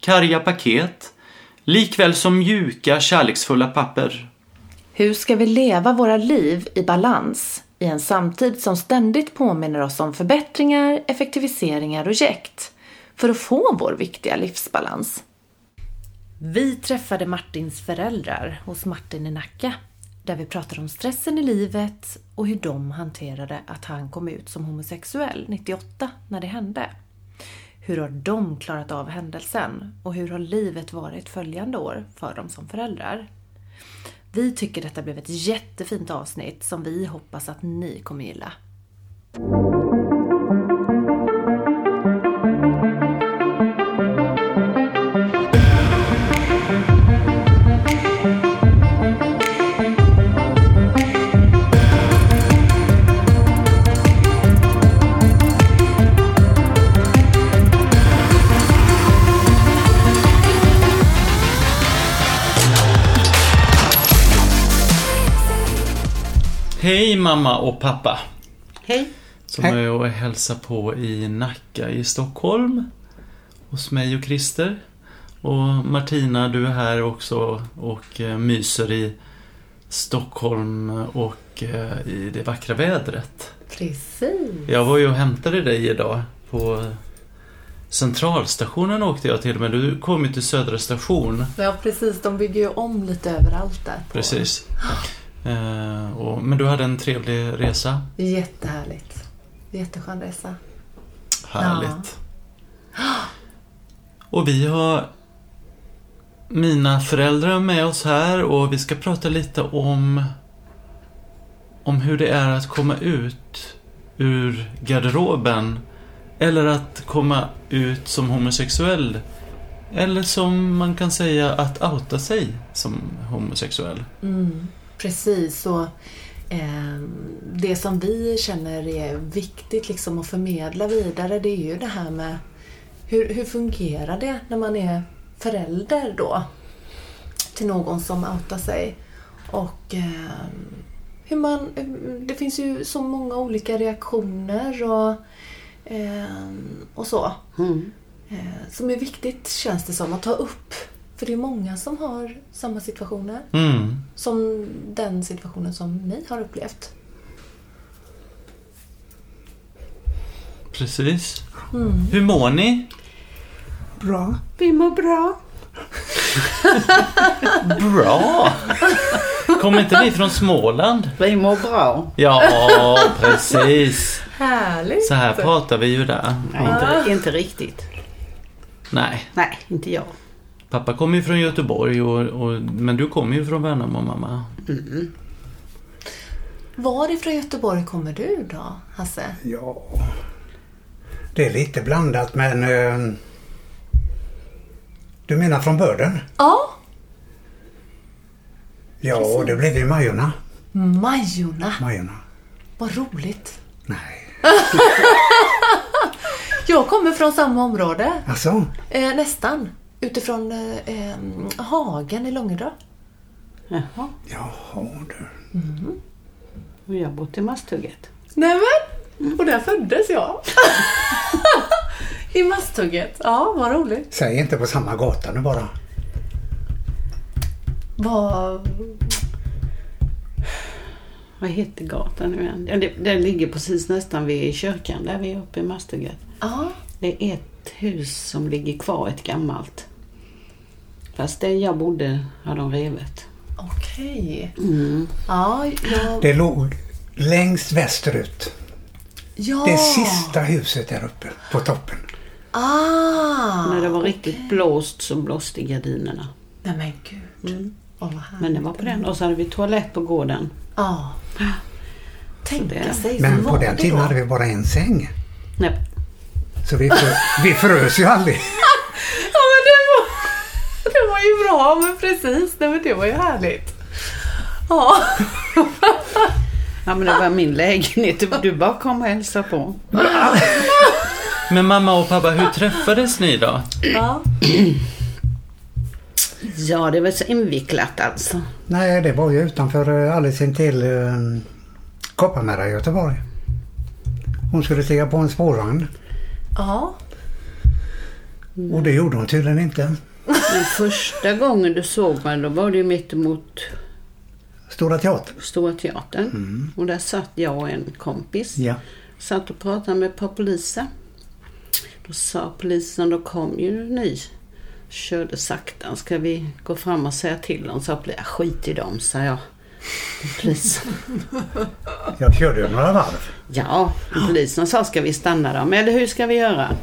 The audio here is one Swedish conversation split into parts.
karga paket likväl som mjuka, kärleksfulla papper. Hur ska vi leva våra liv i balans i en samtid som ständigt påminner oss om förbättringar, effektiviseringar och jäkt för att få vår viktiga livsbalans? Vi träffade Martins föräldrar hos Martin i Nacka där vi pratade om stressen i livet och hur de hanterade att han kom ut som homosexuell 98 när det hände. Hur har de klarat av händelsen och hur har livet varit följande år för dem som föräldrar? Vi tycker detta blev ett jättefint avsnitt som vi hoppas att ni kommer gilla. Hej mamma och pappa! Hej! Som är och hälsar på i Nacka i Stockholm. Hos mig och Christer. Och Martina, du är här också och eh, myser i Stockholm och eh, i det vackra vädret. Precis! Jag var ju och hämtade dig idag på Centralstationen åkte jag till men du kom ju till Södra station. Ja precis, de bygger ju om lite överallt där. på- Precis. Eh, och, men du hade en trevlig resa. Jättehärligt. Jätteskön resa. Härligt. Och vi har mina föräldrar med oss här och vi ska prata lite om om hur det är att komma ut ur garderoben eller att komma ut som homosexuell eller som man kan säga att outa sig som homosexuell. Mm, precis. Och, eh, det som vi känner är viktigt liksom att förmedla vidare det är ju det här med hur, hur fungerar det när man är förälder då till någon som outar sig? Och eh, hur man, det finns ju så många olika reaktioner och, eh, och så. Eh, som är viktigt känns det som att ta upp. För det är många som har samma situationer Mm. som den situationen som ni har upplevt. Precis. Hur mår ni? Bra. Vi mår bra. Bra! Kommer inte ni från Småland? Vi mår bra. Ja, precis. Härligt! Så här pratar vi ju där. Nej, inte, inte riktigt. Nej, Ah. Nej, inte jag. pappa kommer ju från Göteborg och, och, men du kommer ju från Värnamo mamma. Varifrån Göteborg kommer du då, Hasse? Ja. Det är lite blandat men... eh, Du menar från börden? Ja, Ja, det blev i Majorna. Majorna. Majorna. Vad roligt. Nej. Jag kommer från samma område, Alltså, eh, nästan. Utifrån eh, eh, Hagen i Långedra. Jaha. jaha du. Och jag har bott i Masthugget. Nämen! Och där föddes jag. I Masthugget. Ja, vad roligt. Säg inte på samma gata nu bara. Vad... Vad heter gatan nu igen? Ja, det, den ligger precis nästan vid kyrkan där vi är uppe i Masthugget. Ja, Det är ett hus som ligger kvar, ett gammalt. Fast det jag bodde har de revet. okej. Ja, jag... Det låg längst västerut. Ja. Det sista huset där uppe på toppen. Ah! När det var riktigt blåst så blåste gardinerna. Nej men gud. Åh, vad härligt. Men det var på den. Och så hade vi toalett på gården. Ja. Tänka det- sig Men så på var den det tiden då. hade vi bara en säng. Nej. Så vi, frö- vi frös ju aldrig. Ja men det var... Ja, men precis. Nej, men det var ju härligt. Ja. Ja men det var min lägenhet. Du bara kom och hälsa på. Men mamma och pappa, hur träffades ni då? ja. Ja det var så invecklat alltså. Nej, det var ju utanför, eh, alldeles intill eh, Kopparmära i Göteborg. Hon skulle stiga på en spårvagn Ja. och det gjorde hon tydligen inte. Men första gången du såg mig då var det ju mitt emot Stora Teatern. Stora Teatern. Och där satt jag och en kompis. Ja. Satt och pratade med ett par poliser. Då sa polisen, då kom ju ni. Körde sakta. Ska vi gå fram och säga till dem? Så jag, skit i dem, sa jag. Polisen. Jag körde ju några varv. Ja, polisen sa, ska vi stanna dem? Eller hur ska vi göra?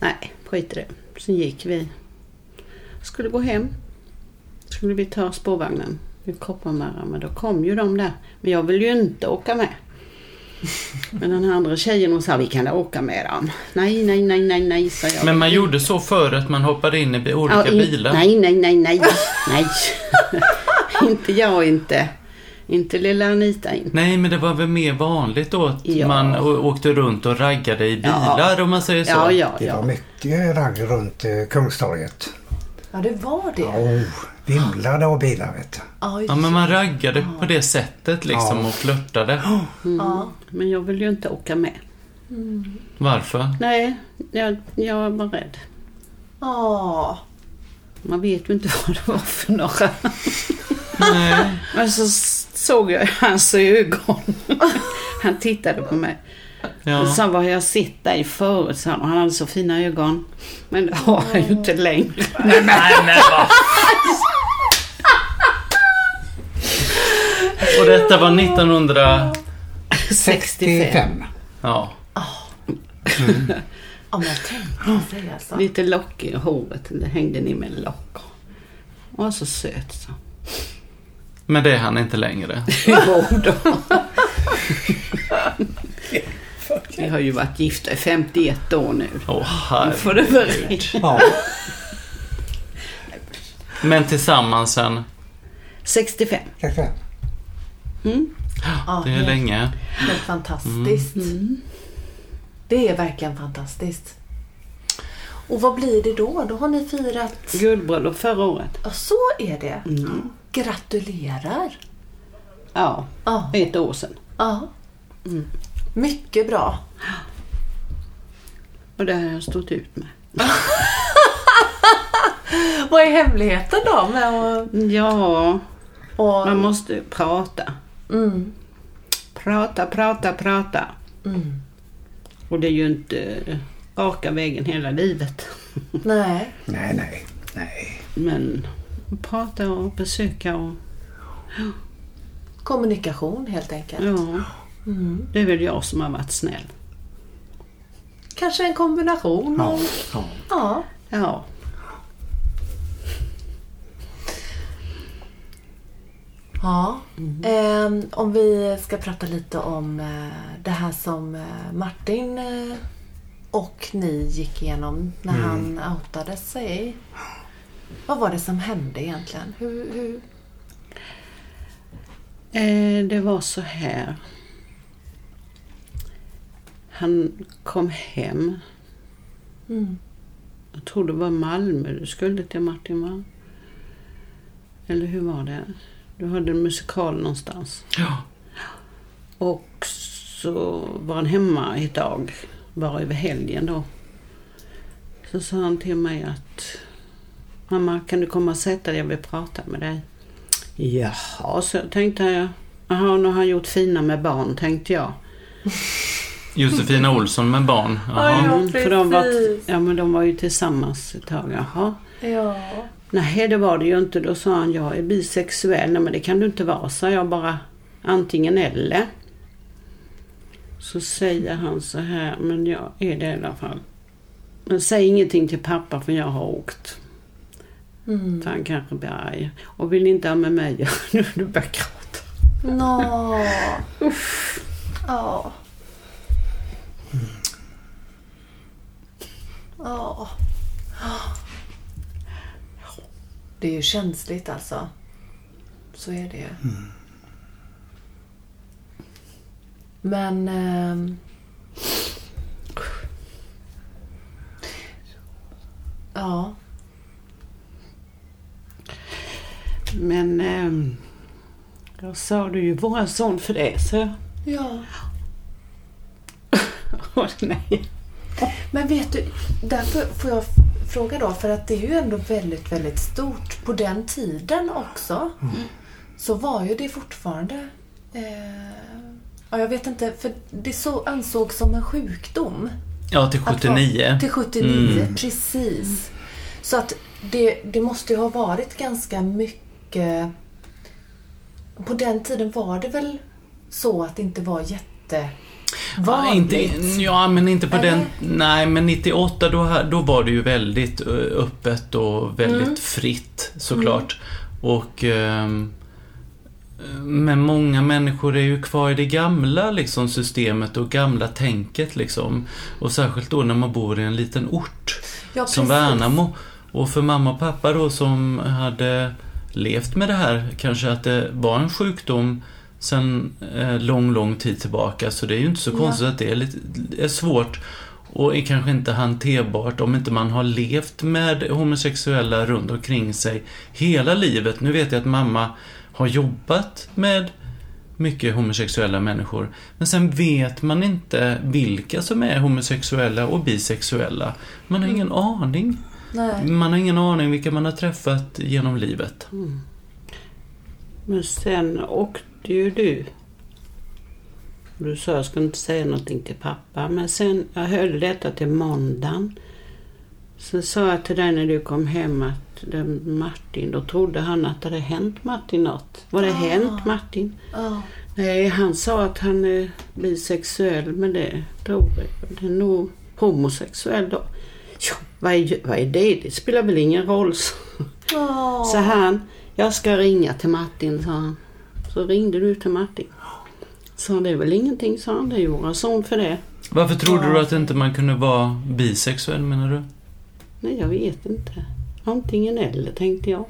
Nej, skit i det. Sen gick vi. Skulle gå hem. Skulle vi ta spårvagnen i Kopparmöra, men då kom ju de där. Men jag ville ju inte åka med. Men den här andra tjejen hon sa, vi kan åka med dem. Nej, nej, nej, nej, nej, sa jag. Men man gjorde så förut, man hoppade in i bi- olika Ja, i- bilar. Nej, nej, nej, nej, nej. inte jag inte. Inte lilla Anita inte. Nej, men det var väl mer vanligt då att Ja. man å- åkte runt och raggade i bilar om man säger så. Ja, ja, Det var ja. mycket ragg runt eh, Kungstorget. ja, det var det. Oh, vimlade av bilar vet du. Ja, Ja, men man raggade på det sättet liksom Ja. och flörtade. ja. Men jag vill ju inte åka med. Varför? Nej, jag, jag var rädd. ja. Man vet ju inte vad det var för några. Nej. Men så såg jag hans ögon. Han tittade på mig. Ja. Och sa, vad har jag sett dig förut? sa han. Och han hade så fina ögon. Men det har han ju inte längre. Nej, men vad Och detta var 1900... 65. Ja. ja men tänk sig alltså. Lite lock i håret. Det hängde ner med lock. Och han så söt så. Men det är han inte längre. Jo då. Vi har ju varit gifta i 51 år nu. Åh, Nu får det vara rätt. Ja. Men tillsammans sen. 65. 65. Ja, Det är helt, länge. helt fantastiskt. Mm. Det är verkligen fantastiskt. Och vad blir det då? Då har ni firat... Guldbröllop förra året. Ja, så är det. Gratulerar. Ja, Ja. ett år sedan. ja. Mycket bra. Och det har jag stått ut med. Vad är hemligheten då med att... Ja, Och, man måste prata. mm, Prata, prata, prata. Mm. Och det är ju inte eh, raka vägen hela livet. nej. Nej, nej, nej. Men prata och besöka och Kommunikation helt enkelt. ja. Det är väl jag som har varit snäll. Kanske en kombination Ja. av... ja. Ja. Ja. Ja. Ehm, om vi ska prata lite om eh, det här som eh, Martin eh, och ni gick igenom när han outade sig. Vad var det som hände egentligen? Hur, hur? Eh, det var så här. Han kom hem. Mm. Jag tror det var Malmö du skulle till Martin va? Eller hur var det? Du hade en musikal någonstans. Ja. Och så var han hemma ett tag, bara över helgen då. Så sa han till mig att Mamma, kan du komma och sätta dig? Jag vill prata med dig. Jaha, så tänkte jag. Jaha, nu har han gjort fina med barn, tänkte jag. Josefina Olsson med barn. Jaha. Ja, Mm, för de var, precis. ja, men de var ju tillsammans ett tag. Jaha. Ja. Nej, det var det ju inte. Då sa han, jag är bisexuell. Nej, men det kan du inte vara, sa jag bara. Antingen eller. Så säger han så här, men jag är det i alla fall. Men säg ingenting till pappa för jag har åkt. Mm. För han kanske blir arg. Och vill inte ha med mig att göra." nu du börjar gråta. Nå. Ja. Ja. det är ju känsligt alltså. Så är det ju. Men... ehm, ja. Men ehm, jag sa du ju vara sån för det, så jag. ja. Åh, nej. Men vet du, därför får jag fråga då, för att det är ju ändå väldigt, väldigt stort. På den tiden också Mm. så var ju det fortfarande... Eh, ja, jag vet inte, för det så ansågs som en sjukdom. Ja, till Att 79. vara- Till 79, Mm. precis. Så att det, det måste ju ha varit ganska mycket... På den tiden var det väl så att det inte var jätte... Ja, inte, vanligt? ja, men inte på Eller? den... Nej, men 98 då, ha- då var det ju väldigt eh, öppet och väldigt Mm. fritt såklart. Och... ehm, men många människor är ju kvar i det gamla liksom, systemet och gamla tänket liksom. Och särskilt då när man bor i en liten ort Ja, som precis. Värnamo. Och för mamma och pappa då som hade levt med det här, kanske att det var en sjukdom sedan eh, lång, lång tid tillbaka. Så det är ju inte så Ja. konstigt att det är, lite, är svårt och är kanske inte hanterbart om inte man har levt med homosexuella runt omkring sig hela livet. Nu vet jag att mamma har jobbat med mycket homosexuella människor. Men sen vet man inte vilka som är homosexuella och bisexuella. Man har ingen aning. Nej. Man har ingen aning vilka man har träffat genom livet. Men sen åkte ju du. Du sa jag skulle inte säga någonting till pappa. Men sen, jag höll detta till måndagen. Så sa jag till dig när du kom hem att det är Martin, då trodde han att det hade hänt Martin något. Vad det Ah. hänt Martin? Ja. Nej, han sa att han är bisexuell, men det tror jag. Det är nog homosexuell då. Ja, vad är, vad är det? Det spelar väl ingen roll, så. Ja. Så han, jag ska ringa till Martin, sa han. Så ringde du till Martin. Sa han, det är väl ingenting, sa han. Det är ju våra son för det. Varför trodde Ja. du att inte man kunde vara bisexuell menar du? Nej, jag vet inte. Antingen eller, tänkte jag.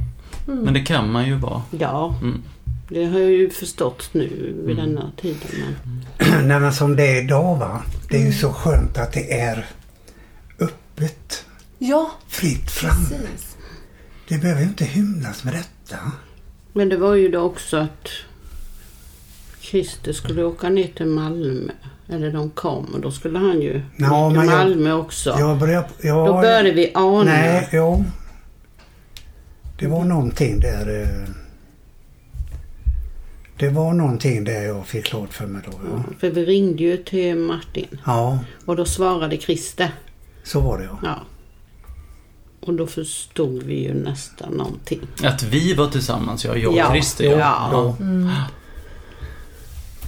Mm. Men det kan man ju vara. Ja, Mm. det har jag ju förstått nu vid denna tiden. Men... Nej men som det är idag va. Det är ju så skönt att det är öppet, ja, fritt fram. precis. Det behöver ju inte hymlas med detta. Men det var ju då också att Christer skulle åka ner till Malmö. Eller de kom och då skulle han ju Ja, ner men till jag- Malmö också. Jag började... Jag, då började vi ana. Nej, jo. Det var någonting där... eh, Det var någonting där jag fick klart för mig då. Ja, För vi ringde ju till Martin ja och då svarade Christer. så var det ja. Ja. Och då förstod vi ju nästan någonting. Att vi var tillsammans, ja, jag och Ja. Christer. Ja. Mm. Ja.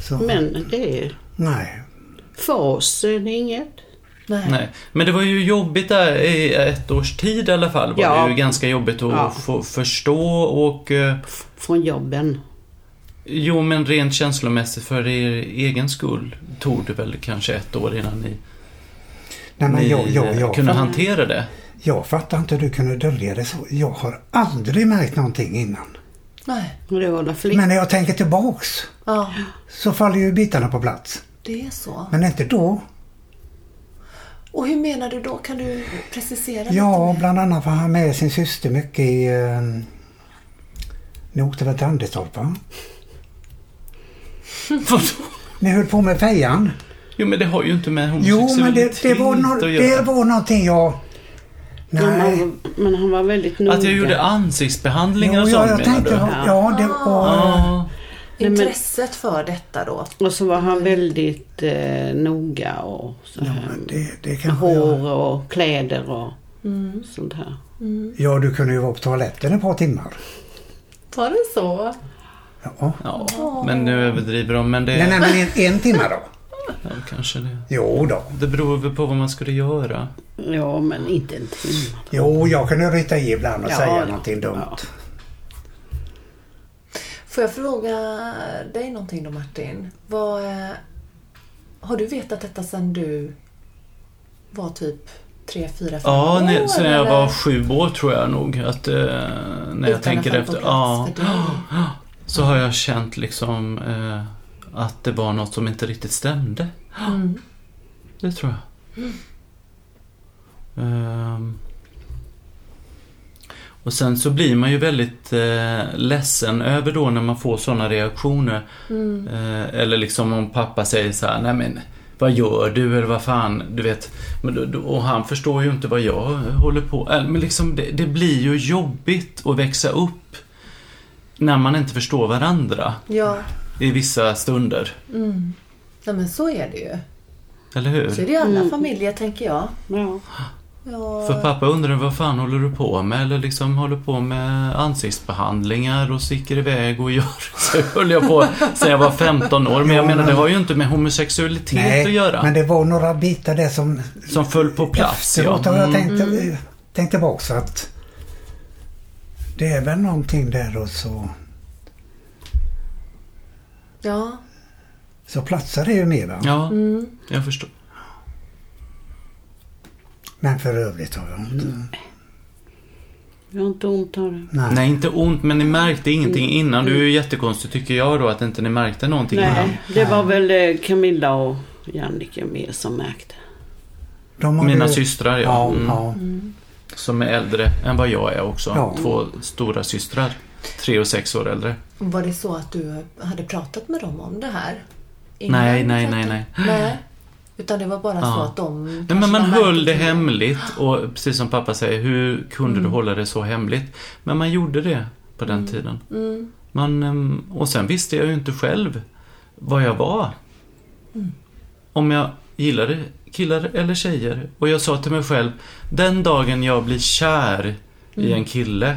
Så, Men det är, Nej. för oss är det inget. Nej. Nej. Men det var ju jobbigt där i ett års tid i alla fall. Var Ja. Det ju ganska jobbigt att Ja. få förstå och eh, Från jobben. Jo, men rent känslomässigt för er egen skull tog det väl kanske ett år innan ni, Nej men ni eh, jag, jag, jag, kunde Mm. jag, hantera det. fattar inte hur du kunde dölja det så. Jag har aldrig märkt någonting innan. Nej. Och det var där flick- Men när jag tänker tillbaks Ja, så faller ju bitarna på plats. det är så. Men inte då. Och hur menar du då? Kan du precisera Ja, lite mer? bland annat var han med sin syster mycket i... Eh, ni åkte väl till Anderstorp va? Vadå? Ni höll på med Mm. fejan. Jo, men det har ju inte med Jo, men homosexualitet det, det, var no, att det göra. var någonting jag... men, Nej. han, men han var väldigt noga. Att jag gjorde ansiktsbehandlingar Jo, och jag, sånt jag menar du? tänkte... Ja, det var... Ja. men- Intresset för detta då? Och så var han väldigt eh, noga och så Ja, här. men det, det med kanske jag... hår och kläder och sånt här. Ja, du kunde ju vara på toaletten ett par timmar. Var det så? Ja. ja, men nu överdriver de. Men det Nej, nej, men en, en timme då? Ja, kanske det. Jo då. Det beror väl på vad man skulle göra. Ja, men inte en timme. Jo, jag kunde ryta i ibland och Ja, säga ja. någonting dumt. Ja. Får jag fråga dig någonting då Martin? Vad, eh, har du vetat detta sedan du var typ tre, fyra, fem Ja, år? när, sen jag eller? var sju år tror jag nog att eh, när Utan jag att tänker han får efter. plats Ja, för dig. så har jag känt liksom eh, att det var något som inte riktigt stämde. Mm. Det tror jag. Ehm. och sen så blir man ju väldigt eh, ledsen över då när man får sådana reaktioner. Mm. Eh, eller liksom om pappa säger så här, nej men vad gör du eller vad fan, du vet. Men, då- då- och han förstår ju inte vad jag håller på eh, Men liksom det, det blir ju jobbigt att växa upp när man inte förstår varandra Ja, i vissa stunder. mm. ja, men så är det ju. Eller hur? Så är det i alla Mm. familjer, tänker jag. Ja. Ja. För pappa undrar vad fan håller du på med? Eller liksom håller på med ansiktsbehandlingar och sticker iväg och gör... Så höll jag på sen jag var 15 år. Men jag menar det har ju inte med homosexualitet att göra. men det var några bitar där som Som föll på plats. efteråt har jag Mm. tänkt, tänkt tillbaka så att det är väl någonting där och så, Ja. så platsar det ju mer. Va? Ja, Mm. jag förstår. Men för övrigt har jag inte... Jag har inte ont av det. Nej. Nej, inte ont, men ni märkte ingenting innan. Du är ju jättekonstig tycker jag då att inte ni märkte någonting innan. Nej, det var väl eh, Camilla och Jannike mer som märkte. De har Mina ju- systrar, ja. Ja, Mm, ja. Som är äldre än vad jag är också. Ja. Två stora systrar. Tre och sex år äldre. Var det så att du hade pratat med dem om det här? Nej, nej, pratade- nej, nej. nej. Utan det var bara så Ja. att de... Nej, Mm, kanske men man var höll det märkligt- hemligt och precis som pappa säger, hur kunde du hålla det så hemligt? Men man gjorde det på den tiden. Mm. Mm. Man, ehm, och sen visste jag ju inte själv vad jag var. Mm. Om jag gillade killar eller tjejer. Och jag sa till mig själv, den dagen jag blir kär Mm. i en kille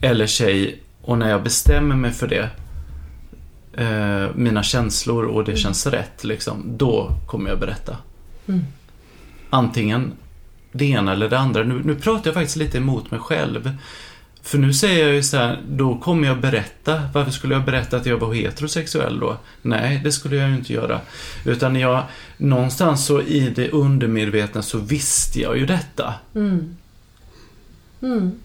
eller tjej och när jag bestämmer mig för det, eh, mina känslor och det känns rätt, liksom, då kommer jag berätta. Mm. Antingen det ena eller det andra. Nu, nu pratar jag faktiskt lite emot mig själv. För nu säger jag ju så här, då kommer jag berätta. Varför skulle jag berätta att jag var heterosexuell då? Nej, det skulle jag ju inte göra. Utan jag, någonstans så i det undermedvetna så visste jag ju detta. Mm. Mm.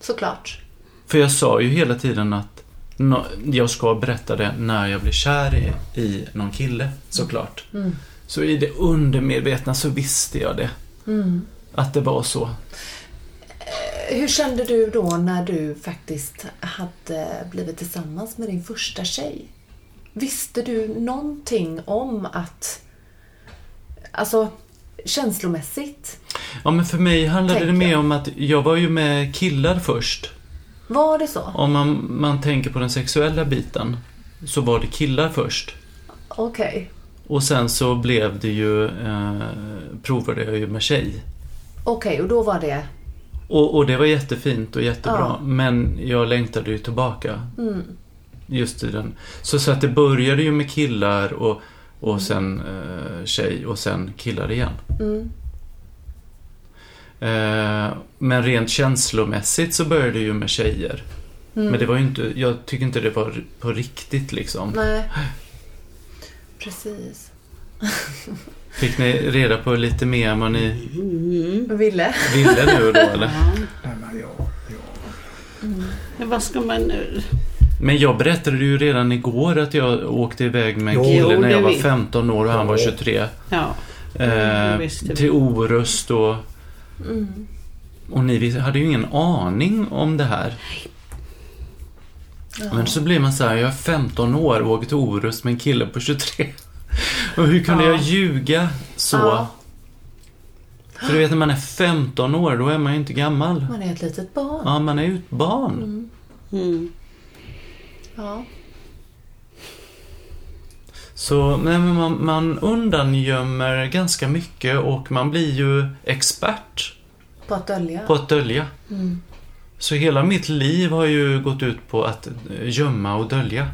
Såklart. För jag sa ju hela tiden att nå- jag ska berätta det när jag blir kär i, i någon kille, såklart. Mm. Så i det undermedvetna så visste jag det. Mm. Att det var så. Hur kände du då när du faktiskt hade blivit tillsammans med din första tjej? Visste du någonting om att... Alltså, känslomässigt? Ja men för mig handlade det Tänker mer jag. om att jag var ju med killar först. Var det så? Om man, man tänker på den sexuella biten så var det killar först. Okej. Och sen så blev det ju, eh, provade jag ju med tjej. Okej, och då var det... Och, och det var jättefint och jättebra Ja. men jag längtade ju tillbaka. Mm. Just i den. Så, så att det började ju med killar och, och sen eh, tjej och sen killar igen. Mm. Eh, men rent känslomässigt så började det ju med tjejer. Mm. Men det var ju inte, jag tycker inte det var på riktigt liksom. Nej. Precis. Fick ni reda på lite mer än vad ni Mm. Ville? ville nu då eller? Ja. Nej, men jag- Mm. Men Vad ska man... Men jag berättade ju redan igår att jag åkte iväg med en Jo, kille jo, när jag det var vet. 15 år och han var Ja. 23. Ja. Mm, Eh, det visste vi. till Orust och, Mm. och ni vis- hade ju ingen aning om det här. Men så blir man så här, jag är 15 år och åker till Orust med en kille på 23. Och hur kunde Ja. jag ljuga så? Ja. För du vet när man är 15 år, då är man ju inte gammal. Man är ett litet barn. Ja, man är ju ett barn. Mm. Ja. Så nej, men man, man undangömmer ganska mycket och man blir ju expert På att dölja. på att dölja. Mm. Så hela mitt liv har ju gått ut på att eh, gömma och dölja.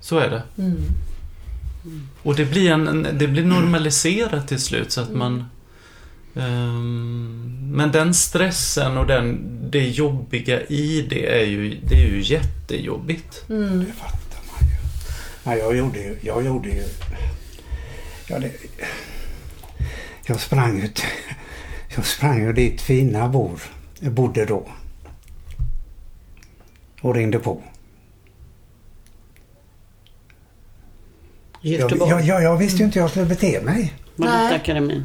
Så är det. Mm. Och det blir, en, en- det blir normaliserat till slut så att man... ehm, men den stressen och den, det jobbiga i det är ju, det är ju jättejobbigt. Mm. Det fattar man ju. Nej, jag gjorde ju, jag gjorde ju Ja, det... Jag sprang ut. Jag sprang ju dit fina bor bodde då. Och ringde på. Jag, Göteborg. jag, jag, jag visste ju inte hur jag skulle bete mig. Valutaakademin.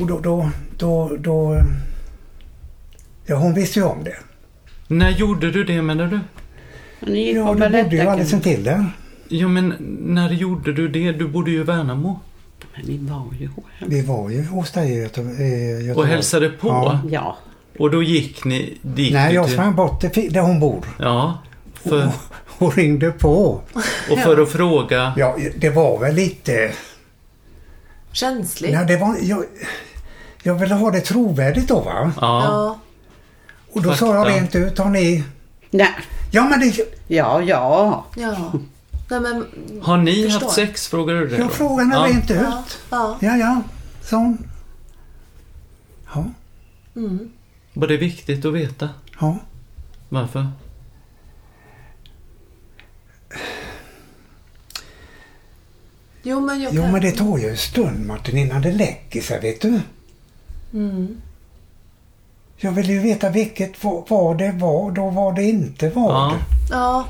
Och då, då, då, då... Ja, hon visste ju om det. När gjorde du det menar du? Men ni gick Ja, på du bodde ju liksom alldeles Balettakademin. intill där. Ja men när gjorde du det? Du bodde ju i Värnamo. Men vi var ju hem. Vi var ju hos dig i Göte- i Göteborg. Och hälsade på. Ja. Ja, Och då gick ni dit? Nej, jag sprang bort till fi- där hon bor Ja. För, och ringde på. och för att fråga. Ja, det var väl lite... Känsligt. Nej, det var... Jag, jag ville ha det trovärdigt då va. Ja. Ja. Och då Fakta. sa jag rent ut, har ni... nej, Ja men det... ja, ja. Ja. Nej men... Har ni Förstår. haft sex? Frågar du det då? Jag frågade henne ja. rent Ja. ut. ja. Ja, ja. Sa hon. Ja, Var det viktigt att veta? ja. Varför? Jo men jag Jo kan... men det tar ju en stund Martin innan det läcker sig vet du. Mm. Jag ville ju veta vilket va- vad det var då var det inte vad. Ja. Ja.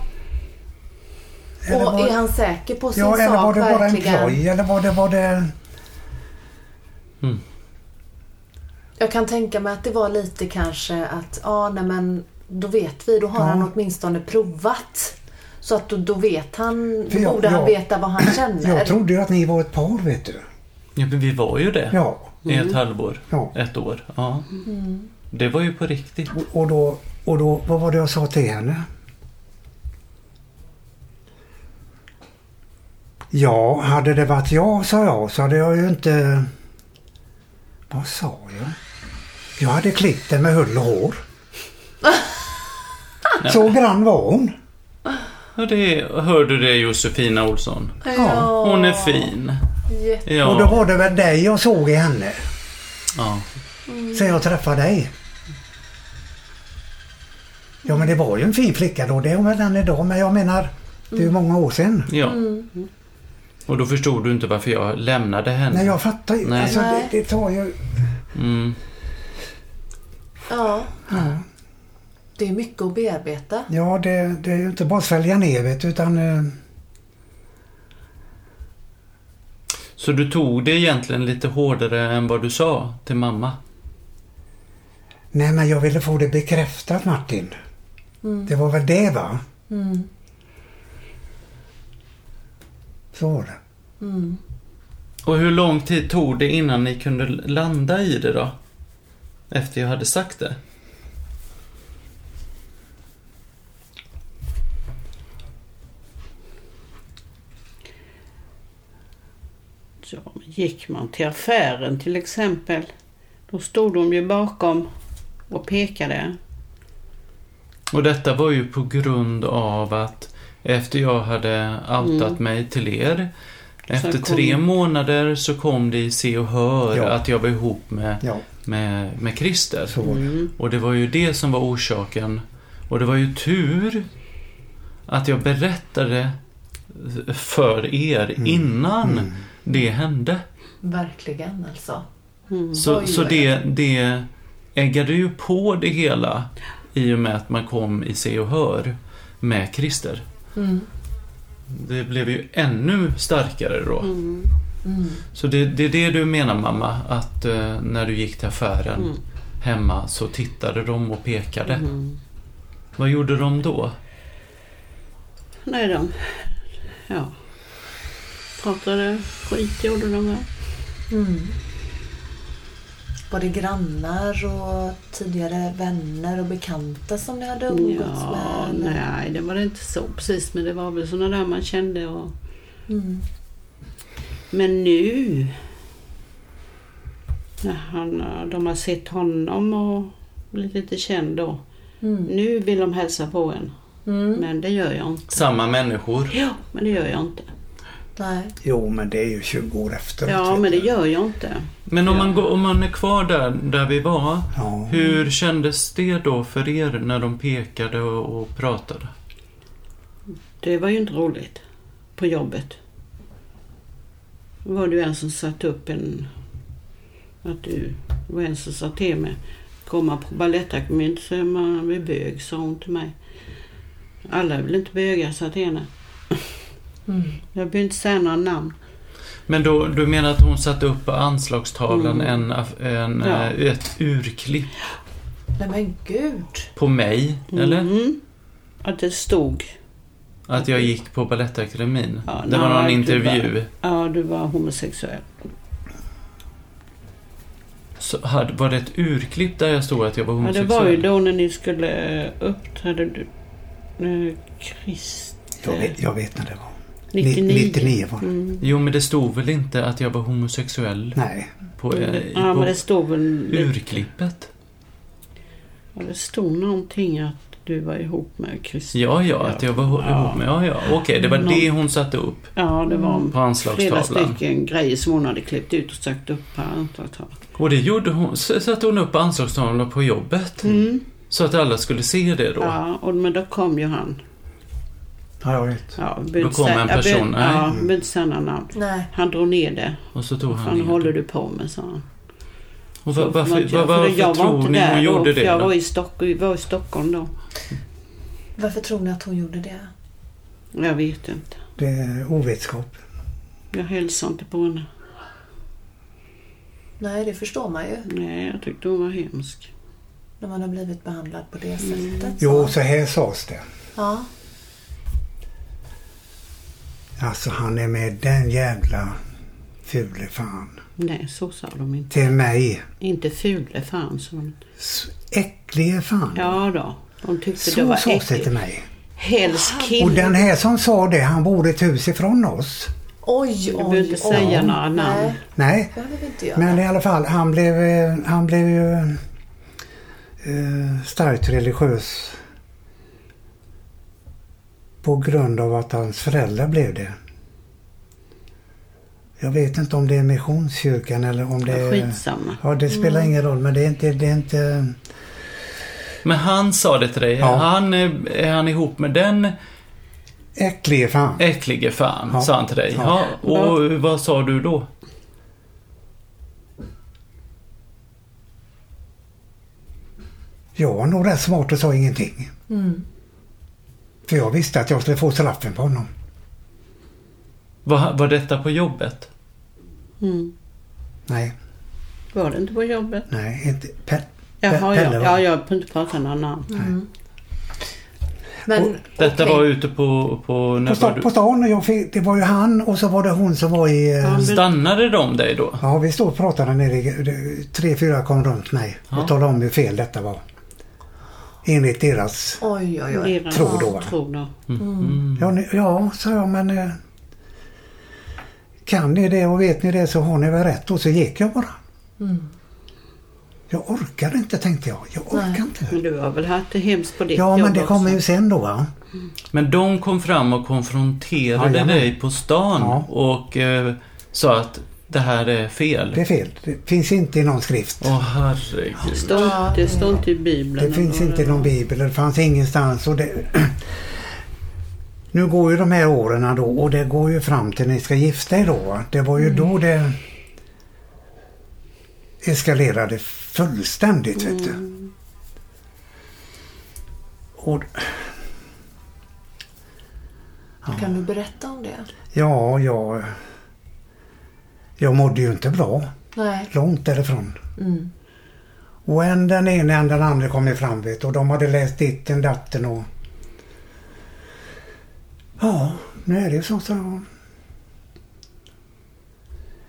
Eller Och var- är han säker på sin Ja, eller var sak det bara en verkligen? ploj eller var det, var det... Jag kan tänka mig att det var lite kanske att, ja nej men då vet vi, då har Ja. han åtminstone provat. Så att då, då vet han, då För jag- borde han jag- veta vad han känner. Jag trodde ju att ni var ett par vet du. ja men vi var ju det. Ja. I Mm. ett halvår. Ja. Ett år. Ja. Det var ju på riktigt. Och- Och då, och då, vad var det jag sa till henne? Ja, hade det varit jag, sa jag, så hade jag ju inte... Vad sa jag? Jag hade klippt det med hull och hår. Så grann var hon. Ja, det hörde du det Josefina Olsson? ja. Hon är fin. jätte- Ja. Och då var det väl dig jag såg i henne, ja. sen jag träffade dig. Ja, men det var ju en fin flicka då, det är hon väl än idag, men jag menar, det är ju många år sedan. ja. Och då förstod du inte varför jag lämnade henne? Nej, jag fattar ju. Nej. Alltså, det, Nej. det tar ju... Mm. Ja. Det är mycket att bearbeta. Ja, det, det är ju inte bara att svälja ner vet du, utan... eh, Så du tog det egentligen lite hårdare än vad du sa till mamma? Nej, men jag ville få det bekräftat Martin. Mm. Det var väl det va? Mm. Så var det. Och hur lång tid tog det innan ni kunde landa i det då? Efter jag hade sagt det? Så gick man till affären till exempel. Då stod de ju bakom och pekade. Och detta var ju på grund av att efter jag hade outat mig till er efter kom- tre månader så kom det i Se och Hör Ja. att jag var ihop med, Ja, med, med Christer. så var det. Mm. Och det var ju det som var orsaken. Och det var ju tur att jag berättade för er innan Mm. det hände. Verkligen alltså. Så, Mm. Oj, så oj, det, det äggade ju på det hela i och med att man kom i Se och Hör med Christer. Mm. Det blev ju ännu starkare då. Mm. Mm. Så det, det är det du menar mamma, att eh, när du gick till affären Mm. hemma så tittade de och pekade. Mm. Vad gjorde de då? Nej, de... Ja. Pratade skit gjorde de väl. Mm. Var det grannar och tidigare vänner och bekanta som ni hade umgåtts Ja, med? eller? nej, det var det inte så precis. Men det var väl sådana där man kände och... Mm. Men nu... När han, de har sett honom och blivit lite känd då. Mm. Nu vill de hälsa på en. Mm. Men det gör jag inte. Samma människor. Ja, men det gör jag inte. Nej. Jo, men det är ju 20 år efter. Ja, men det gör jag inte. Men om, man, går, om man är kvar där, där vi var, Ja. hur Mm. kändes det då för er när de pekade och, och pratade? Det var ju inte roligt på jobbet. var det ju en som satte upp en... Att du det var en som sa till mig. Komma på Balettakademin så är man väl bög, sa hon till mig. Alla är väl inte bögar, sa Athena. Mm. Jag behöver inte säga några namn. Men då, du menar att hon satte upp på anslagstavlan en, aff- en, Mm. Ja. eh, ett urklipp Nej men gud. på mig, eller? Mm. Att det stod. Att jag gick på Balettakademin. Ja, det var nej, någon du intervju. Ja, du var homosexuell. Så hade, var det ett urklipp där jag stod att jag var Ja, det homosexuell? var ju då när ni skulle eh, uppträda. Du, eh, Christer. Jag vet, jag vet när det var. 99. 99 var det. Mm. Jo, men det stod väl inte att jag var homosexuell Nej, på, eh, Mm. Ja, på men det stod väl... urklippet? Ja, det stod någonting att du var ihop med Christer. Ja, ja, att jag var ho- Ja. ihop med... Ja, ja. Okej, det var Någon- det hon satte upp Ja, det var på flera anslagstavlan. stycken grejer som hon hade klippt ut och sagt upp på anslagstavlan. Och det gjorde hon. s- Satte hon upp på anslagstavlan på jobbet. Mm. Så att alla skulle se det då. Ja, och, men då kom ju han. ja, jag vet. Ja, jag Då behöver inte kom säga- en jag behöver- person, nej. Ja, jag behöver inte säga några namn. Nej. Han drog ner det. Och så tog Vad han fan ner håller det. du på med, sa han. Och Så var, får varför man inte göra, var, för varför jag var tror inte ni där hon då, gjorde för det Jag var då? i, Stock, vi var i Stockholm då. Varför tror ni att hon gjorde det? Jag vet inte. Det är ovetskap. Jag hälsade inte på henne. Nej, det förstår man ju. Nej, jag tyckte hon var hemsk. När man har blivit behandlad på det sättet. Jo, så här sades det. Ja. Alltså han är med den jävla fule fan. Nej, så sa de inte. Till mig. Inte fule fan, sa de. S- Äcklige fan. Ja då. De tyckte det så var sades det till äckligt. mig. Helst Och kille. den här som sa det, han bor ett hus ifrån oss. Oj, oj, Jag behöver inte säga några namn. Nej, Nej, det behöver vi inte göra. men i alla fall han blev, eh, han blev ju eh, starkt religiös. På grund av att hans föräldrar blev det. Jag vet inte om det är Missionskyrkan eller om det är... Skitsamma. Ja, det spelar ingen roll, men det är inte... Det är inte Men han sa det till dig. Ja. Han, är, är han ihop med den äcklige fan. äcklige fan? Ja. Sa han till dig. Ja. Ja. Och vad sa du då? Jag var nog rätt smart och sa ingenting. Mm. För jag visste att jag skulle få straffen på honom. Var, var detta på jobbet? Mm. Nej, Var det inte på jobbet? nej, inte... Pe- Jaha, Pelle, ja. va? ja. Jag behöver inte prata några namn. Mm. Men, Och Detta okej. var ute på... på, när på, var sta- du, på stan och jag fick, det var ju han och så var det hon som var i... eh, Ja. stannade de dig då? Ja, vi stod och pratade nere i... det- Tre, fyra kom runt mig Ja. och talade om hur fel detta var. Enligt deras... Oj, oj, oj. Deras Tror då, va? Tror då. Ja, ni, ja, sa jag, men... eh, Kan ni det och vet ni det så har ni väl rätt. Och så gick jag bara. Jag orkar inte, tänkte jag. Jag orkar Nej. inte. Men du har väl haft det hemskt på ditt Ja, men jobb det kommer också? ju sen då, va? Men de kom fram och konfronterade Jajamän. dig på stan Ja. och eh, sa att det här är fel. Det är fel. Det finns inte i någon skrift. Åh herregud. Står- Ja, det står inte i Bibeln. Det finns eller inte i någon bibel, det fanns ingenstans. Och det... Nu går ju de här åren då och det går ju fram till ni ska gifta er då. va? Det var ju då det eskalerade fullständigt, vet du. Och, Kan du berätta om det? ja, jag... Jag mådde ju inte bra. Nej. långt därifrån. Mm. Och en den ene en den andra kom ju fram vet du, och de hade läst ditten datten och... Ja, nu är det ju så, sa hon.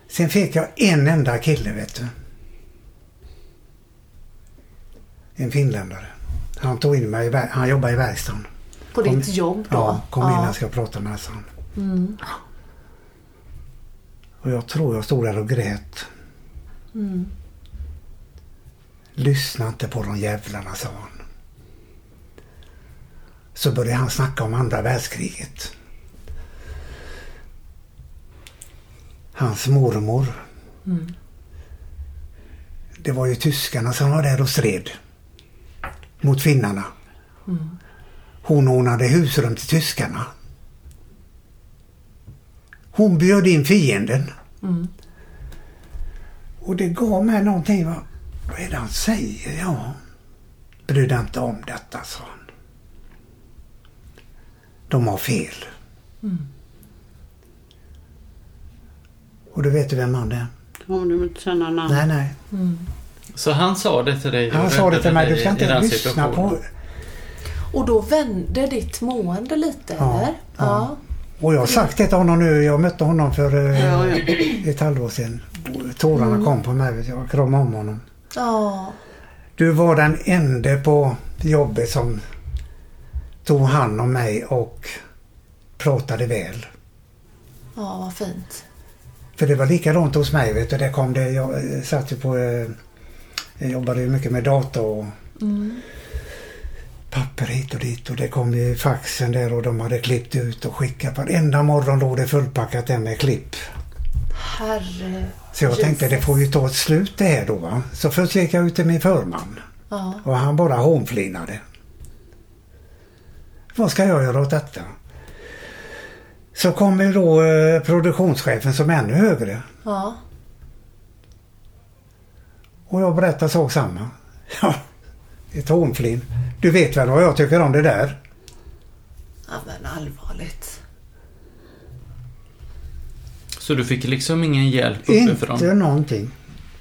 Sen fick jag en enda kille vet du. En finländare. Han tog in mig, i ver- han jobbade i verkstaden. På Kom- ditt jobb då? Mm. Ja, kom in jag ska prata med honom. Och jag tror jag stod där och grät. Mm. Lyssna inte på de jävlarna, sa han. Så började han snacka om andra världskriget. Hans mormor. Det var ju tyskarna som var där och stred mot finnarna. Hon ordnade husrum till tyskarna. Hon bjöd in fienden. Och det gav mig någonting. Vad vad är det han säger? Ja, bry dig inte om detta, sa han. De har fel. Mm. Och du vet ju vem han är? Om du inte känner namn. Nej, nej. Så han sa det till dig? och Han sa det räddade till mig. Du dig ska i inte den lyssna på... situationen. Och då vände ditt mående lite, Ja, eller? Ja. Och jag har sagt det till honom nu. Jag mötte honom för eh, Ja, ja. Mm. ett halvår sedan. Tårarna kom på mig. vet Jag Jag kramade om honom. Ja. Du var den enda på jobbet som tog hand om mig och pratade väl. Ja, vad fint. För det var likadant hos mig. Vet du. Där kom det, jag eh, satt ju på... eh, Jag jobbade ju mycket med data och papper hit och dit. Och det kom ju faxen där och de hade klippt ut och skickat. Varenda morgon låg det fullpackat där med klipp. Herre... Så jag tänkte Jesus. det får ju ta ett slut det här då. Va? Så först gick jag ut till min förman Ja. och han bara hånflinade. Vad ska jag göra åt detta? Så kom ju då eh, produktionschefen som är ännu högre Ja. och jag berättade sak samma. Ja, ett hånflin. Du vet väl vad jag tycker om det där? ja, men allvarligt. Så du fick liksom ingen hjälp uppifrån? Inte någonting.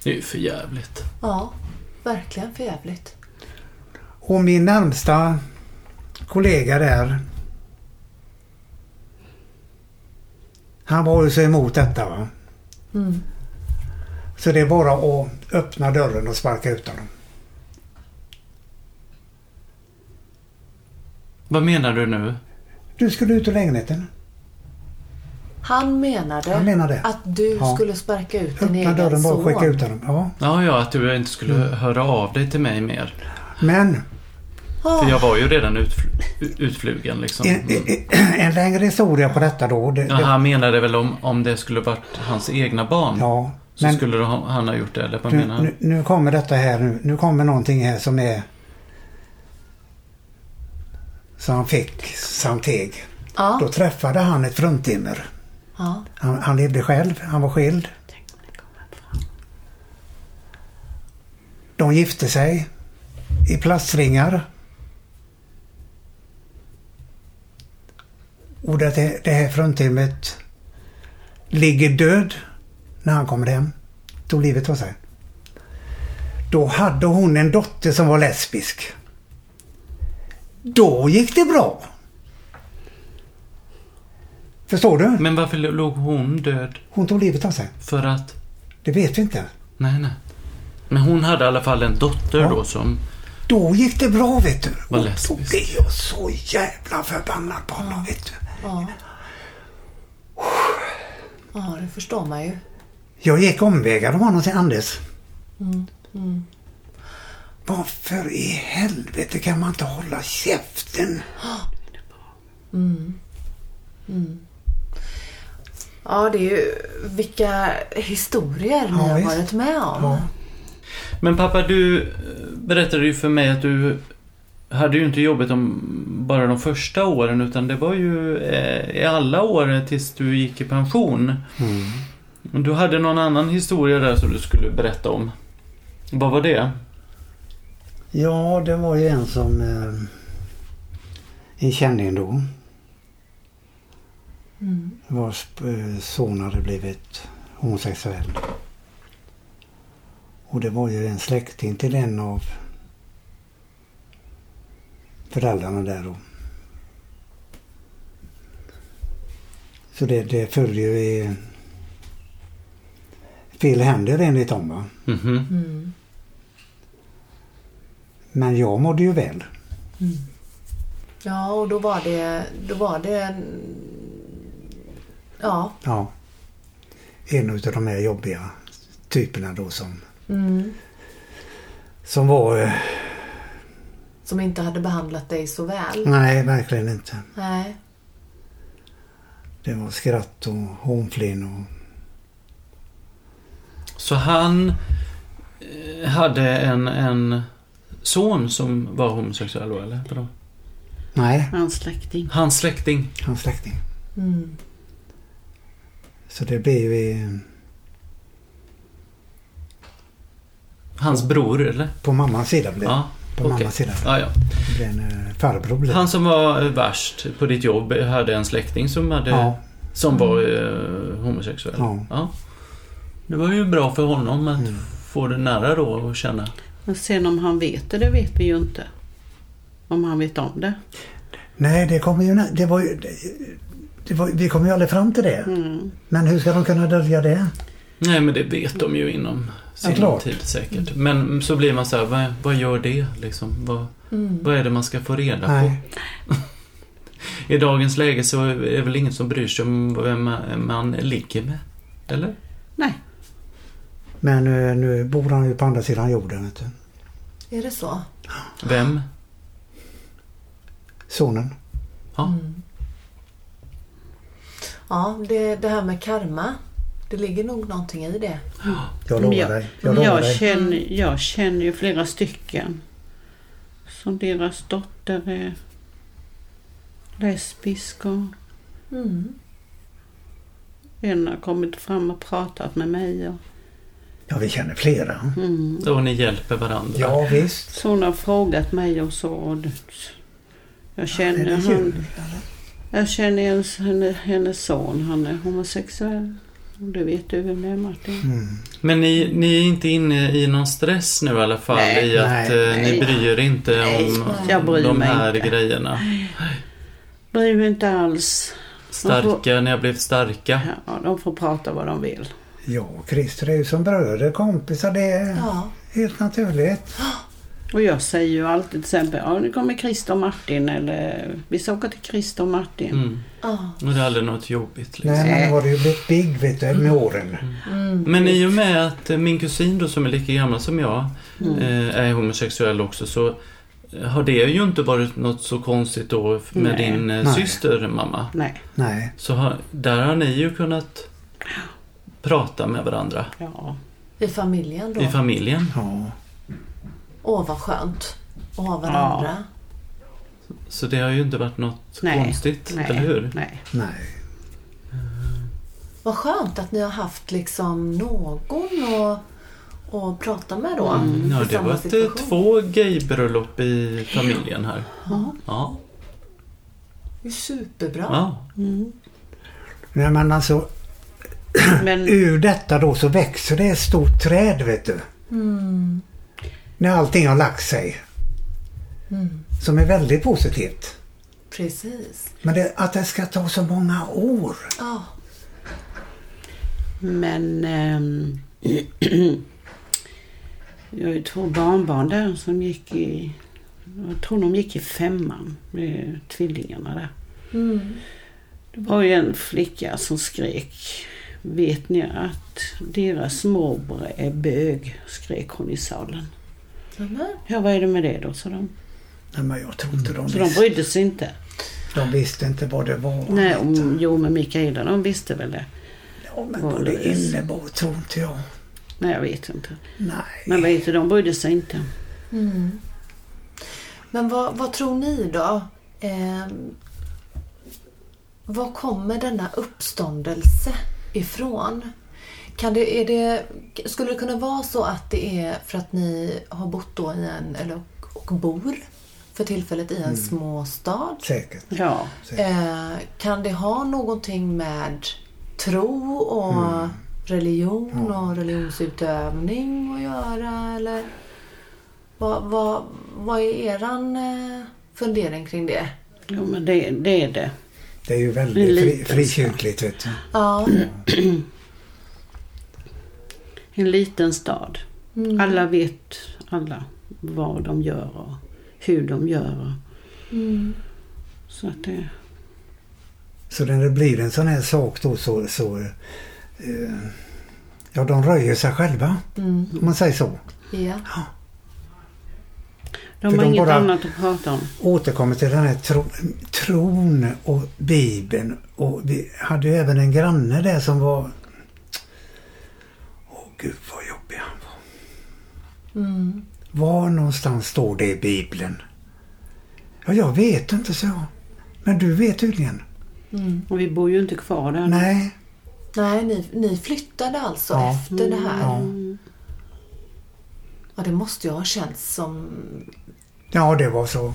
Det är ju för jävligt. Ja, verkligen för jävligt. Och min närmsta kollega där Han var ju så emot detta va. Mm. Så det är bara att öppna dörren och sparka ut honom. Vad menar du nu? Du skulle ut ur lägenheten. Han menade, Han menade. att du Ja. skulle sparka ut din Öppna egen dörren bara och son. skicka ut honom. Ja. Ja, ja, att du inte skulle Mm. höra av dig till mig mer. Men Ja. För jag var ju redan utfl- utflugen liksom. en, en- en längre historia på detta då. Det, Ja, det, han menade väl om, om det skulle varit hans egna barn. ja. Så Men skulle han han ha gjort det, eller vad nu, menar han? nu, nu kommer detta här nu. Nu kommer någonting här som är som han fick samteg. Då Ja. träffade han ett fruntimmer. Ja. Han, han levde själv, han var skild. De gifte sig i plastringar. Och det, det här fruntimmet ligger död när han kommer hem. Tog livet av sig. Då hade hon en dotter som var lesbisk. Då gick det bra. Förstår du? Men varför låg hon död? Hon tog livet av sig. För att... Det vet vi inte. Nej, nej. Men hon hade i alla fall en dotter Ja. då som... Då gick det bra vet du. Vad Och då lesbisk. blev jag så jävla förbannad på honom vet du. Ja. Ja, det förstår man ju. Jag gick omvägar om honom till Anders. Varför i helvete kan man inte hålla käften? Ja, det är ju vilka historier ni Ja, har visst. varit med om. Ja. Men pappa, du eh, berättade ju för mig att du hade ju inte jobbat om bara de första åren utan det var ju eh, i alla år tills du gick i pension. Men Du hade någon annan historia där som du skulle berätta om. Vad var det? Ja, det var ju en som... eh, en känning då. Vars eh, son hade blivit homosexuell. Och det var ju en släkting till en av föräldrarna där då. Så det, det följer ju i fel händer enligt dem va. Mhm. Mm. Men jag mådde ju väl. Ja, och då var det... Då var det... Ja. Ja. En utav de här jobbiga typerna då som, Mm. som var... eh, Som inte hade behandlat dig så väl. Nej, verkligen inte. Nej. Det var skratt och hånflin och... Så han eh, hade en, en son som var homosexuell då, eller? Vadå? Nej, Hans släkting. Hans släkting. hans släkting. Mm. Så det blev ju... eh, Hans bror eller? På mammans sida blev Ja, På okej. mammas sida. Ja, ja. det blev en eh, farbror. Blev. Han som var eh, värst på ditt jobb eh, hade en släkting som, hade, Ja, som var eh, homosexuell. Ja. Mm. Det var ju bra för honom att få det nära då och känna. Men sen om han vet det, det vet vi ju inte. Om han vet om det. nej, det kommer ju... Det var ju det var, vi kommer ju aldrig fram till det. Mm. Men hur ska de kunna dölja det? Nej, men det vet de ju inom sin klart. tid säkert. Men så blir man så här, vad, vad gör det liksom? Vad, vad är det man ska få reda på? Nej. I dagens läge så är det väl ingen som bryr sig om vem man- man ligger med? Eller? Nej. Men eh, nu bor han ju på andra sidan jorden. Vet du. Är det så? Vem? Sonen. Ja. Mm. Ja, det, det här med karma. Det ligger nog någonting i det. Jag lovar Men jag- dig. Jag Jag, lovar jag, dig. känner, jag känner ju flera stycken som deras dotter är lesbisk och Mm. en har kommit fram och pratat med mig. Och, Ja, vi känner flera. mm. Och ni hjälper varandra? Ja, visst. Så hon har frågat mig och så. Och det- jag Är känner, det han, jul? jag känner ens henne, hennes son, han är homosexuell. Och Det vet du väl med Martin? Mm. Men ni, ni är inte inne i någon stress nu i alla fall? Nej, I att nej, eh, ni nej. bryr er inte Nej, om jag bryr de mig här inte. Mm. grejerna? Bryr mig inte alls. Starka, ni har blivit starka. Ja, de får prata vad de vill. Ja, Christer är ju som bröder, kompisar. Det är Ja. helt naturligt. Och jag säger ju alltid till exempel, ja nu kommer Christer och Martin eller vi ska åka till Christer och Martin. Mm. Ja. Och det är aldrig något jobbigt. Liksom. Nej, men nu har det ju blivit big vet du, med åren. Mm. Men i och med att eh, min kusin då som är lika gammal som jag Mm. eh, är homosexuell också så har det ju inte varit något så konstigt då med Nej. din eh, Nej. syster mamma. Nej, Nej. Så har, där har ni ju kunnat prata med varandra ja. I familjen då. i familjen. Ja. Åh, vad skönt. Och ha varandra. Så det har ju inte varit något Nej. konstigt, Nej. eller hur? Nej. Nej. Vad skönt att ni har haft liksom någon att, att prata med då. Mm, ja, i det samma var ett, situation. två gaybröllop i familjen här. Ja. Ja. Det är superbra. ja. Nej, men alltså Men ur detta då så växer det ett stort träd vet du. Mm. När allting har lagt sig. Mm. Som är väldigt positivt. Precis. Men det, att det ska ta så många år. Ja. Men ehm, Jag har ju två barnbarn där som gick i Jag tror de gick i femman med tvillingarna där. Mm. Det var ju en flicka som skrek Vet ni att deras morbror är bög? skrek hon i salen. Eller? Ja, vad är det med det då? sa de. Nej, men jag tror inte de Mm. Så de visste. brydde sig inte. De visste inte vad det var. Nej, vet du. om, jo men Mikaela de visste väl det. ja, men vad det innebar tror inte jag. Nej, jag vet inte. Nej. Men vet du, de brydde sig inte. Men vad, vad tror ni då? Ehm, var kommer denna uppståndelse ifrån? Kan det, är det, skulle det kunna vara så att det är för att ni har bott då i en, eller, och- och bor för tillfället i en småstad? Säkert. Ja, Eh, kan det ha någonting med tro och Mm. religion och religionsutövning att göra? Eller? Vad, vad, vad är eran eh, fundering kring det? jo, men det, det är det. Det är ju Det är väldigt fri, lite så. frikyrkligt vet du. Ja, En liten stad. Mm. Alla vet alla vad de gör och hur de gör. och- Mm. Så att det... Så när det blir en sån här sak då så, så eh, ja de röjer sig själva. Om man säger så. ja. De För har de inget bara- annat att prata om. Återkommer till den här tro, tron och Bibeln. Och vi hade ju även en granne där som var... Åh gud vad jobbig han var. Mm. Var någonstans står det i Bibeln? Ja, jag vet inte, så. jag. Men du vet tydligen. Och vi bor ju inte kvar där. Nej. Nej, ni, ni flyttade alltså Ja. efter det här? Ja. Ja. Och det måste ju ha känts som... Ja, det var så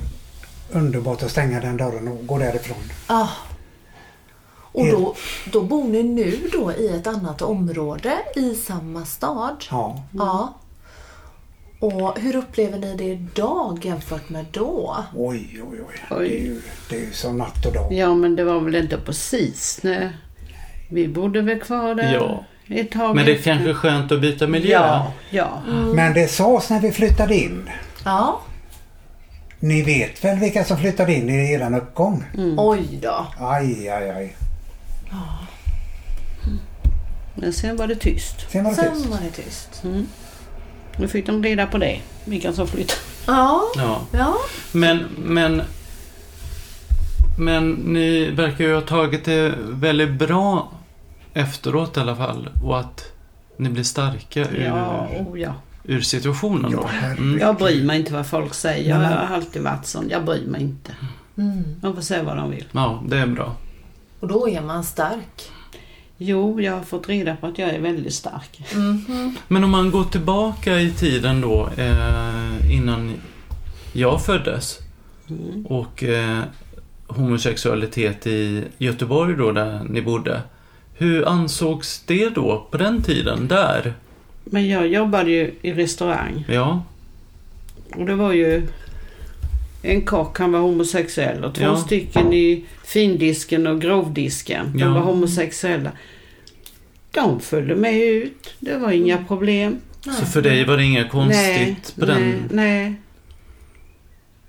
underbart att stänga den dörren och gå därifrån. Ah. Och Det- då, då bor ni nu då i ett annat område i samma stad? Ja. Ja. Och hur upplever ni det idag jämfört med då? Oj, oj, oj. Oj. Det, är ju, det är ju som natt och dag. Ja, men det var väl inte precis när vi bodde väl kvar där Ja. ett tag. Men det är efter. kanske skönt att byta miljö. Ja, ja. Men det sades när vi flyttade in. Ja. Ni vet väl vilka som flyttade in i eran uppgång? Mm. Oj då. Aj, aj, aj. Men sen var det tyst. Sen var det tyst. Sen var det tyst. Mm. Nu fick de reda på det, vilka som flyttade. Ja. Ja. Ja. Men, men... Men ni verkar ju ha tagit det väldigt bra efteråt i alla fall. Och att ni blir starka ur, Ja, oh ja. ur situationen. Ja, då. Mm. herregud. Jag bryr mig inte vad folk säger. Jag Nej, men- har alltid varit sån. Jag bryr mig inte. Mm. De får säga vad de vill. ja, det är bra. Och då är man stark. Jo, jag har fått reda på att jag är väldigt stark. Mm-hmm. Men om man går tillbaka i tiden då eh, innan jag föddes Mm. och eh, homosexualitet i Göteborg då där ni bodde. Hur ansågs det då på den tiden där? Men jag jobbade ju i restaurang. Ja, Och det var ju en kock, han var homosexuell och två Ja. stycken i findisken och grovdisken. De Ja. var homosexuella. De följde med ut. Det var inga problem. så för dig var det inget nej, konstigt på nej, den? nej.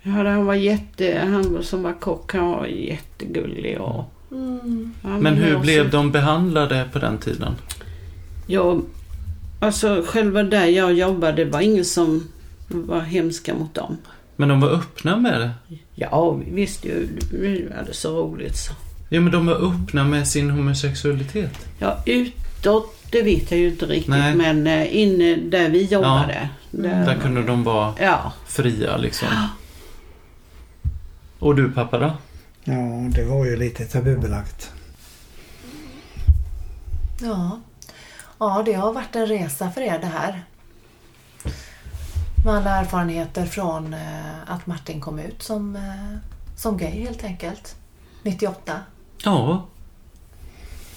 Jag hade, han var jätte, han som var kock, han var jättegullig och... Mm. han Men hur var blev så- de behandlade på den tiden? Ja, alltså själva där jag jobbade, det var ingen som var hemska mot dem. Men de var öppna med det? Ja, vi visste ju, vi hade så roligt så. Ja men de var öppna med sin homosexualitet. Ja, utåt, det vet jag ju inte riktigt. Nej. Mm. Men eh, inne där vi jobbade. Där, Där kunde de vara Ja, fria liksom. Och du pappa då? Ja, det var ju lite tabubelagt. Ja. Ja, det har varit en resa för er det här. Med alla erfarenheter från eh, att Martin kom ut som, eh, som gay helt enkelt. 98. Ja,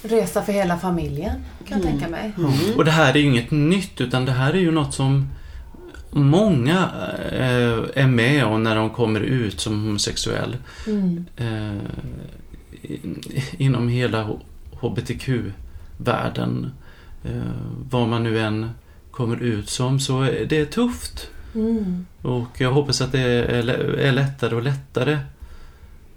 Resa för hela familjen kan jag tänka mig. Mm. Och det här är ju inget nytt utan det här är ju något som många eh, är med om när de kommer ut som homosexuell. Mm. Eh, in, inom hela H- HBTQ-världen. Eh, vad man nu än kommer ut som så är- det är tufft. Mm. Och jag hoppas att det är, lä- är lättare och lättare.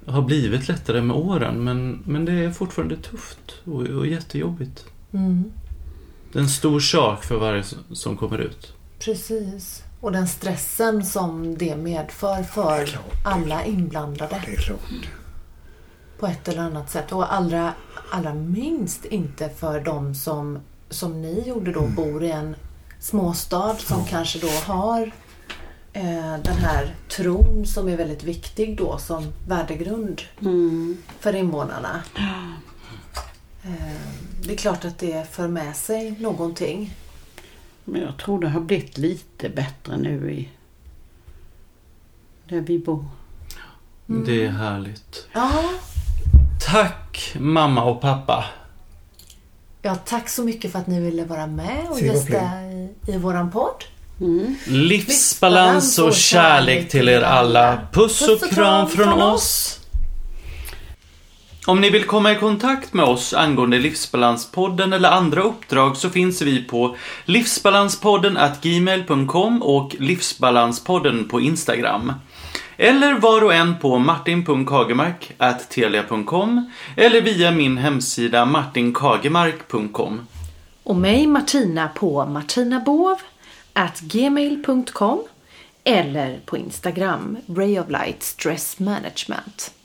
Har blivit lättare med åren men, men det är fortfarande tufft och, och jättejobbigt. Mm. Det är en stor sak för varje s- som kommer ut. Precis. Och den stressen som det medför för klart, det är alla inblandade Det är klart. på ett eller annat sätt. Och allra, allra minst inte för de som, som ni gjorde då, bor i en småstad som kanske då har eh, den här tron som är väldigt viktig då som värdegrund för invånarna. Eh, det är klart att det för med sig någonting. men jag tror det har blivit lite bättre nu i... Där vi bor. Det är härligt. Ja, Tack mamma och pappa. Ja, tack så mycket för att ni ville vara med och S'il vous gästa i, i våran podd. Livsbalans och kärlek till er alla. Puss och kram från oss. Om ni vill komma i kontakt med oss angående Livsbalanspodden eller andra uppdrag så finns vi på livsbalanspodden at gmail.com och livsbalanspodden på Instagram. Eller var och en på martin.kagemark.telia.com eller via min hemsida martinkagemark.com. Och mig Martina på martinabov at gmail.com eller på Instagram Ray of Light Stress Management.